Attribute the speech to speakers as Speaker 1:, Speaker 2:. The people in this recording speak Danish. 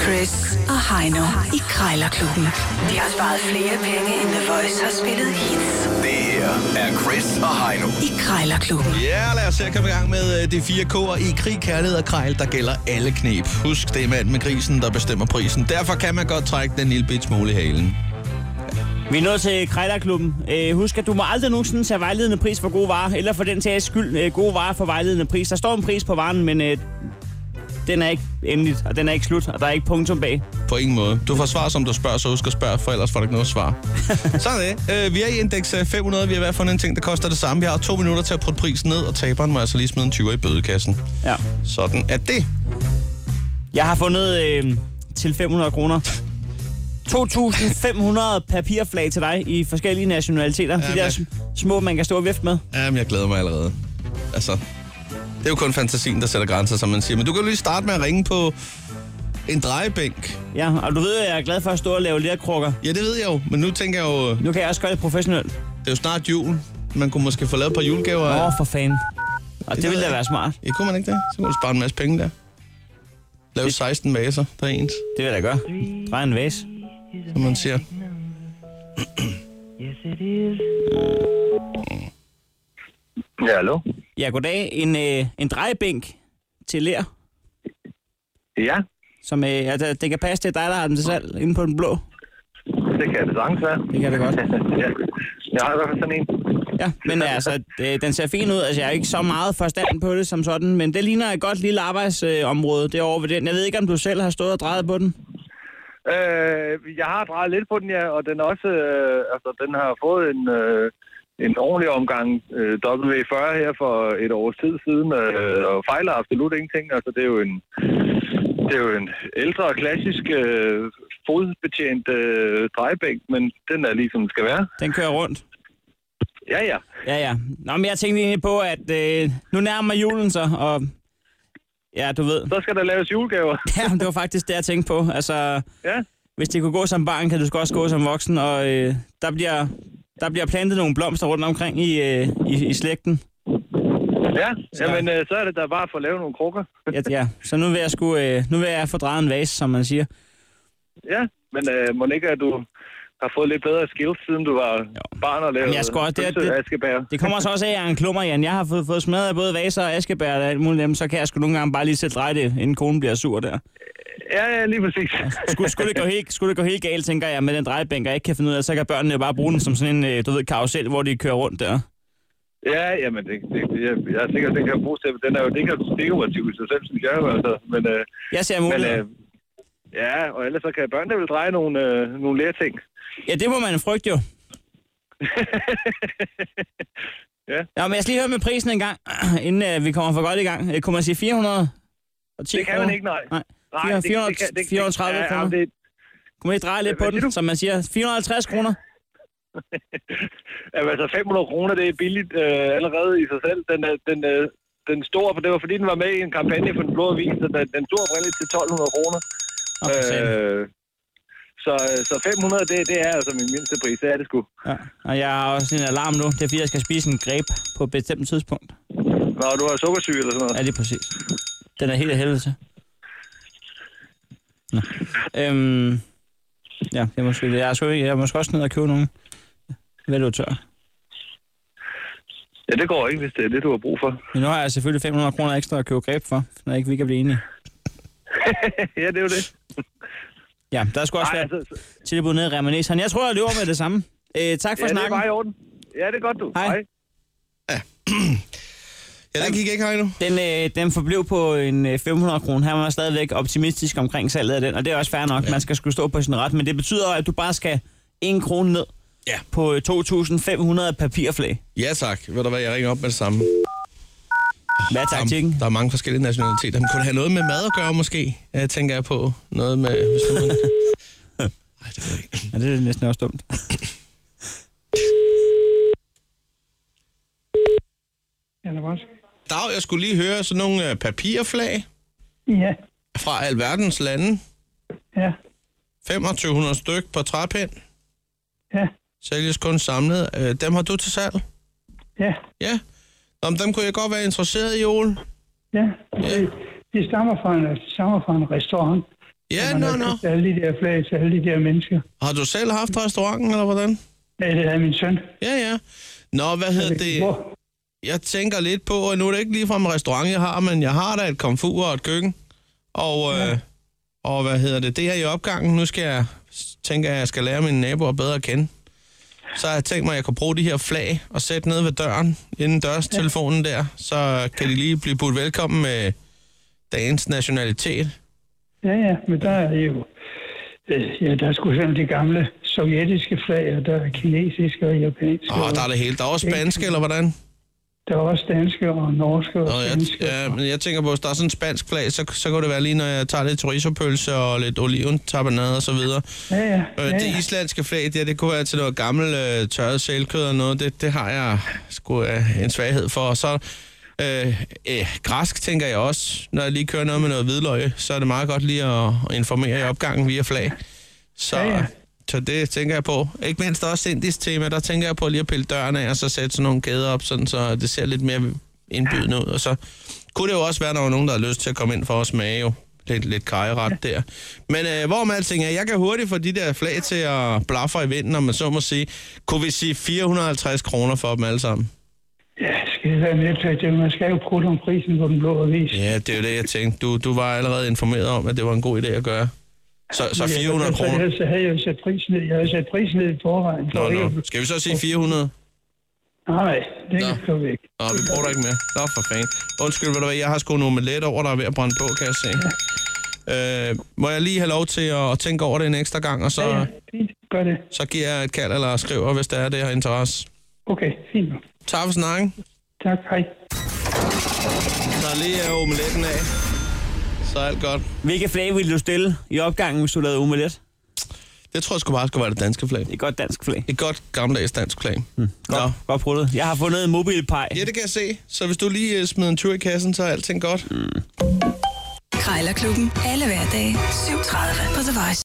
Speaker 1: Chris og Heino i Krejlerklubben. De har sparet flere penge, end The Voice har spillet hits
Speaker 2: Det her er Chris og Heino.
Speaker 1: i Krejlerklubben.
Speaker 3: Ja, lad os se at komme i gang med øh, de fire K'er i krig, kærlighed og krejl, der gælder alle knep. Husk, det er manden med grisen, der bestemmer prisen. Derfor kan man godt trække den lille bit smule i halen.
Speaker 4: Vi er nået til Krejlerklubben. Øh, husk, at du må aldrig nogensinde tage vejledende pris for gode varer, eller for den sags skyld, øh, gode varer for vejledende pris. Der står en pris på varen, men øh, den er ikke endeligt, og den er ikke slut, og der er ikke punktum bag.
Speaker 3: På ingen måde. Du får svar, som du spørger, så husk at spørge, for ellers får du ikke noget svar. Sådan er det. Øh, vi er i indeks øh, 500. Vi har i hvert fald fundet en ting, der koster det samme. Vi har to minutter til at putte prisen ned, og taberen må altså lige smide en 20 i bødekassen.
Speaker 4: Ja.
Speaker 3: Sådan er det.
Speaker 4: Jeg har fundet øh, til 500 kroner. 2.500 papirflag til dig i forskellige nationaliteter. Ja, de
Speaker 3: Jamen,
Speaker 4: der
Speaker 3: jeg-
Speaker 4: sm- små, man kan stå og vifte med.
Speaker 3: Jamen, jeg glæder mig allerede. Altså, det er jo kun fantasien, der sætter grænser, som man siger. Men du kan jo lige starte med at ringe på en drejebænk.
Speaker 4: Ja, og du ved, at jeg er glad for at stå og lave lærkrukker.
Speaker 3: Ja, det ved jeg jo, men nu tænker jeg jo, det
Speaker 4: Nu kan jeg også gøre det professionelt.
Speaker 3: er jo snart jul. Man kunne måske få lavet et par julegaver.
Speaker 4: Åh, for fanden. Og det,
Speaker 3: ved
Speaker 4: det ville da
Speaker 3: jeg
Speaker 4: være
Speaker 3: ikke.
Speaker 4: smart.
Speaker 3: Ja, kunne man ikke det? Så kunne du spare en masse penge der. Lav 16 vaser, der er ens,
Speaker 4: Det vil jeg da gøre. Drej en vase.
Speaker 3: som man siger.
Speaker 5: Ja, hallo?
Speaker 4: Ja, goddag. En, øh, en drejebænk til lær,
Speaker 5: Ja,
Speaker 4: som øh, ja, det, det kan passe, det er dig, der har den til salg inde på den blå.
Speaker 5: det kan det sagtens være.
Speaker 4: Det kan det godt.
Speaker 5: ja. Jeg har i hvert fald sådan en.
Speaker 4: Ja, men altså, øh, den ser fin ud. Altså, jeg er ikke så meget forstand på det som sådan, men det ligner et godt lille arbejdsområde øh, område derovre ved den. Jeg ved ikke, om du selv har stået og drejet på den.
Speaker 5: Øh, jeg har drejet lidt på den, ja, og den, er også, øh, altså, den har fået en, øh, en ordentlig omgang øh, W40 her for et års tid siden, øh, og fejler absolut ingenting. Altså, det er jo en, det er jo en ældre og klassisk øh, fodbetjent øh, drejebænk, men den er ligesom den skal være.
Speaker 4: Den kører rundt.
Speaker 5: Ja, ja.
Speaker 4: Ja, ja. Nå, men jeg tænkte egentlig på, at øh, nu nærmer julen sig, og ja, du ved.
Speaker 5: Så skal der laves julegaver.
Speaker 4: Ja, det var faktisk det, jeg tænkte på. Altså,
Speaker 5: Ja,
Speaker 4: hvis det kunne gå som barn, kan du sgu også gå som voksen, og øh, der, bliver, der bliver plantet nogle blomster rundt omkring i, øh, i, i slægten.
Speaker 5: ja. Jamen, øh, så er det da bare for at lave nogle krukker.
Speaker 4: Ja, ja. Så nu vil jeg, sgu, øh, nu vil jeg få drejet en vase, som man siger.
Speaker 5: Ja, men øh, må ikke, at du har fået lidt bedre skills, siden du var jo. barn og lavede
Speaker 4: jeg skal også- det er- det-
Speaker 5: Askebær.
Speaker 4: Det kommer så også af, at jeg er en klummer, Jan. Jeg har fået, fået smadret af både vaser og askebær og alt muligt dem, så kan jeg sgu nogle gange bare lige selv dreje det, inden konen bliver sur der.
Speaker 5: Ja, ja, lige præcis.
Speaker 4: Skulle, skulle, det gå helt, skulle det gå helt galt, tænker jeg, med den drejebænk, jeg ikke kan finde ud af, så kan børnene jo bare bruge den som sådan en, øh, du ved, karusel, hvor de kører rundt der.
Speaker 5: ja, jamen, det, det, jeg, jeg er sikker, at den kan bruges til, den er jo ikke dekorativ i sig selv, synes jeg jo, altså. Men, øh,
Speaker 4: Jeg ser
Speaker 5: men
Speaker 4: muligheder.
Speaker 5: øh, ja, og ellers så kan børnene vel dreje nogle, øh, nogle lærting.
Speaker 4: Ja, det må man frygte jo.
Speaker 5: Ja.
Speaker 4: ja. men jeg skal lige høre med prisen en gang, inden uh, vi kommer for godt i gang. Uh, kunne man sige 400? Og 10
Speaker 5: Det kan man ikke, nej.
Speaker 4: Nej.
Speaker 5: Nej,
Speaker 4: 400,
Speaker 5: det- det kan- det-
Speaker 4: 430
Speaker 5: ja, ja,
Speaker 4: kroner.
Speaker 5: det-
Speaker 4: Kunne man ikke dreje lidt
Speaker 5: Hvad
Speaker 4: på
Speaker 5: siger
Speaker 4: den,
Speaker 5: du?
Speaker 4: som man siger? 450 kroner?
Speaker 5: Jamen, altså 500 kroner, det er billigt øh, allerede i sig selv. Den, er- den, øh, den store, for det var fordi, den var med i en kampagne for den blå avis, så den, den stod oprindeligt til 1200 kroner.
Speaker 4: Nå, for satan.
Speaker 5: Øh, så, øh, så 500, det, det er altså min mindste pris, det er det sgu.
Speaker 4: Ja. Og jeg har også en alarm nu. Det er fordi, jeg skal spise en greb på et bestemt tidspunkt.
Speaker 5: Nå, du har sukkersyge eller sådan noget.
Speaker 4: Ja, det er præcis. Den er helt af helvede til. Nå. Øhm, ja, det er måske det. Jeg er, sgu, ikke- jeg er måske også ned og købe nogen. Hvad er du tør?
Speaker 5: Ja, det går ikke, hvis det er det, du har brug for.
Speaker 4: Men nu har jeg selvfølgelig 500 kroner ekstra at købe greb for, når ikke vi kan blive enige.
Speaker 5: ja, det er jo det.
Speaker 4: Ja, der skulle også
Speaker 5: Ej,
Speaker 4: være
Speaker 5: altså,
Speaker 4: tilbud nede i Remaneseren. Jeg tror, jeg løber med det samme. Øh, tak for
Speaker 5: ja, det er
Speaker 4: snakken.
Speaker 5: bare i orden. Ja, det er godt, du.
Speaker 4: Hej.
Speaker 3: Ja, den gik ikke, Heino.
Speaker 4: Den, øh, den forblev på en øh, 500 kroner. Han var stadigvæk optimistisk omkring salget af den, og det er også fair nok. Man skal skulle stå på sin ret, men det betyder, at du bare skal en krone ned
Speaker 3: Ja.
Speaker 4: på øh, 2.500 papirflag.
Speaker 3: Ja, tak. Ved du hvad, jeg ringer op med det samme.
Speaker 4: Hvad er taktikken?
Speaker 3: Der, der er mange forskellige nationaliteter. Men kunne det have noget med mad at gøre, måske? Jeg tænker jeg på. Noget med... Hvis nu man... Ej, det ved jeg ikke.
Speaker 4: Ja, det er næsten også dumt.
Speaker 6: Eller også.
Speaker 3: Dag, jeg skulle lige høre sådan nogle øh, papirflag
Speaker 6: Ja,
Speaker 3: fra alverdens lande.
Speaker 6: ja,
Speaker 3: 2500 styk på træpind.
Speaker 6: ja,
Speaker 3: Sælges kun samlet. Øh, dem har du til salg?
Speaker 6: ja,
Speaker 3: Ja. Nå, men dem kunne jeg godt være interesseret i, Ole.
Speaker 6: Øh, ja. altså, Det, det stammer fra en, stammer fra en restaurant
Speaker 3: Ja,
Speaker 6: Man
Speaker 3: nå,
Speaker 6: har
Speaker 3: nå.
Speaker 6: købt Alle de der flag til alle de der mennesker.
Speaker 3: Har du selv haft restauranten, eller hvordan?
Speaker 6: Ja, det er min søn.
Speaker 3: Ja, ja. Nå, hvad hedder det?
Speaker 6: Altså, Hvor?
Speaker 3: Jeg tænker lidt på, og nu er det ikke ligefrem en restaurant, jeg har, men jeg har da et komfur og et køkken. Og, øh, og hvad hedder det? Det her i opgangen, nu skal jeg tænke, at jeg skal lære mine naboer bedre at kende. Så har jeg tænkt mig, at jeg kunne bruge de her flag og sætte ned ved døren, inden dørstelefonen der, så kan de lige blive budt velkommen med dagens nationalitet.
Speaker 6: Ja, ja, men der er jo... øh, Ja, der er sgu sådan de gamle sovjetiske flag, og der er kinesiske og japanske.
Speaker 3: Åh, oh,
Speaker 6: og
Speaker 3: der er det hele. Der er også spanske, eller hvordan?
Speaker 6: der er også danske og norske og
Speaker 3: Nå, jeg,
Speaker 6: svenske.
Speaker 3: ja, men jeg tænker på, hvis der er sådan en spansk flag, så, så kan det være lige, når jeg tager lidt chorizo-pølse og lidt oliven, tapenade og så videre.
Speaker 6: Ja, ja,
Speaker 3: Øh,
Speaker 6: ja, ja.
Speaker 3: det islandske flag, det, det kunne være til noget gammelt øh, tørret sælkød og noget. Det, det har jeg sgu øh, en svaghed for. Og så øh, øh, græsk, tænker jeg også. Når jeg lige kører noget med noget hvidløg, så er det meget godt lige at, at informere i opgangen via flag. Så,
Speaker 6: Ja, ja.
Speaker 3: så det tænker jeg på. Ikke mindst også indisk tema, der tænker jeg på lige at pille døren af, og så sætte sådan nogle kæder op, sådan, så det ser lidt mere indbydende ud. Og så kunne det jo også være, der var nogen, der har lyst til at komme ind for at smage jo. Lidt, lidt kajeret der. Men øh, hvorom alting er, jeg kan hurtigt få de der flag til at blaffe i vinden, om man så må sige. Kunne vi sige 450 kroner for dem alle sammen?
Speaker 6: Ja, skal jeg være med til det? Man skal jo prøve om prisen på den blå avis.
Speaker 3: Ja, det er jo det, jeg tænkte. Du, du var allerede informeret om, at det var en god idé at gøre. Så, så 400
Speaker 6: så,
Speaker 3: kroner.
Speaker 6: ellers så havde altså, jeg jo sat prisen ned. Jeg havde sat prisen ned i forvejen.
Speaker 3: Nå,
Speaker 6: Så det er
Speaker 3: nå.
Speaker 6: jo-
Speaker 3: Skal vi så sige 400?
Speaker 6: Nej, det
Speaker 3: Nå.
Speaker 6: kan stå væk.
Speaker 3: Nå, vi bruger dig ikke mere. Nå, for fanden. Undskyld, ved du hvad, jeg har sgu en omelet over, der er ved at brænde på, kan jeg se. Øh, må jeg lige have lov til at, at tænke over det en ekstra gang, og så,
Speaker 6: Ja, ja, fint. Gør det.
Speaker 3: så giver jeg et kald eller skriver, hvis der er det her interesse.
Speaker 6: Okay, fint. nok.
Speaker 3: Tak for snakken.
Speaker 6: Tak, hej.
Speaker 3: Så lige er omeletten af. Så er alt godt.
Speaker 4: Hvilke flag ville du stille i opgangen, hvis du lavede omelet?
Speaker 3: Det tror jeg sgu bare skulle være det danske flag.
Speaker 4: Det er godt dansk flag.
Speaker 3: Et godt gammeldags dansk flag. Hmm.
Speaker 4: Godt,
Speaker 3: Nå.
Speaker 4: godt prøvet. Jeg har fundet en mobilpej.
Speaker 3: Ja, det kan jeg se. Så hvis du lige øh, smider en tur i kassen, så er alting godt.
Speaker 1: Krejlerklubben. Alle hverdage. 7.30 på The Voice.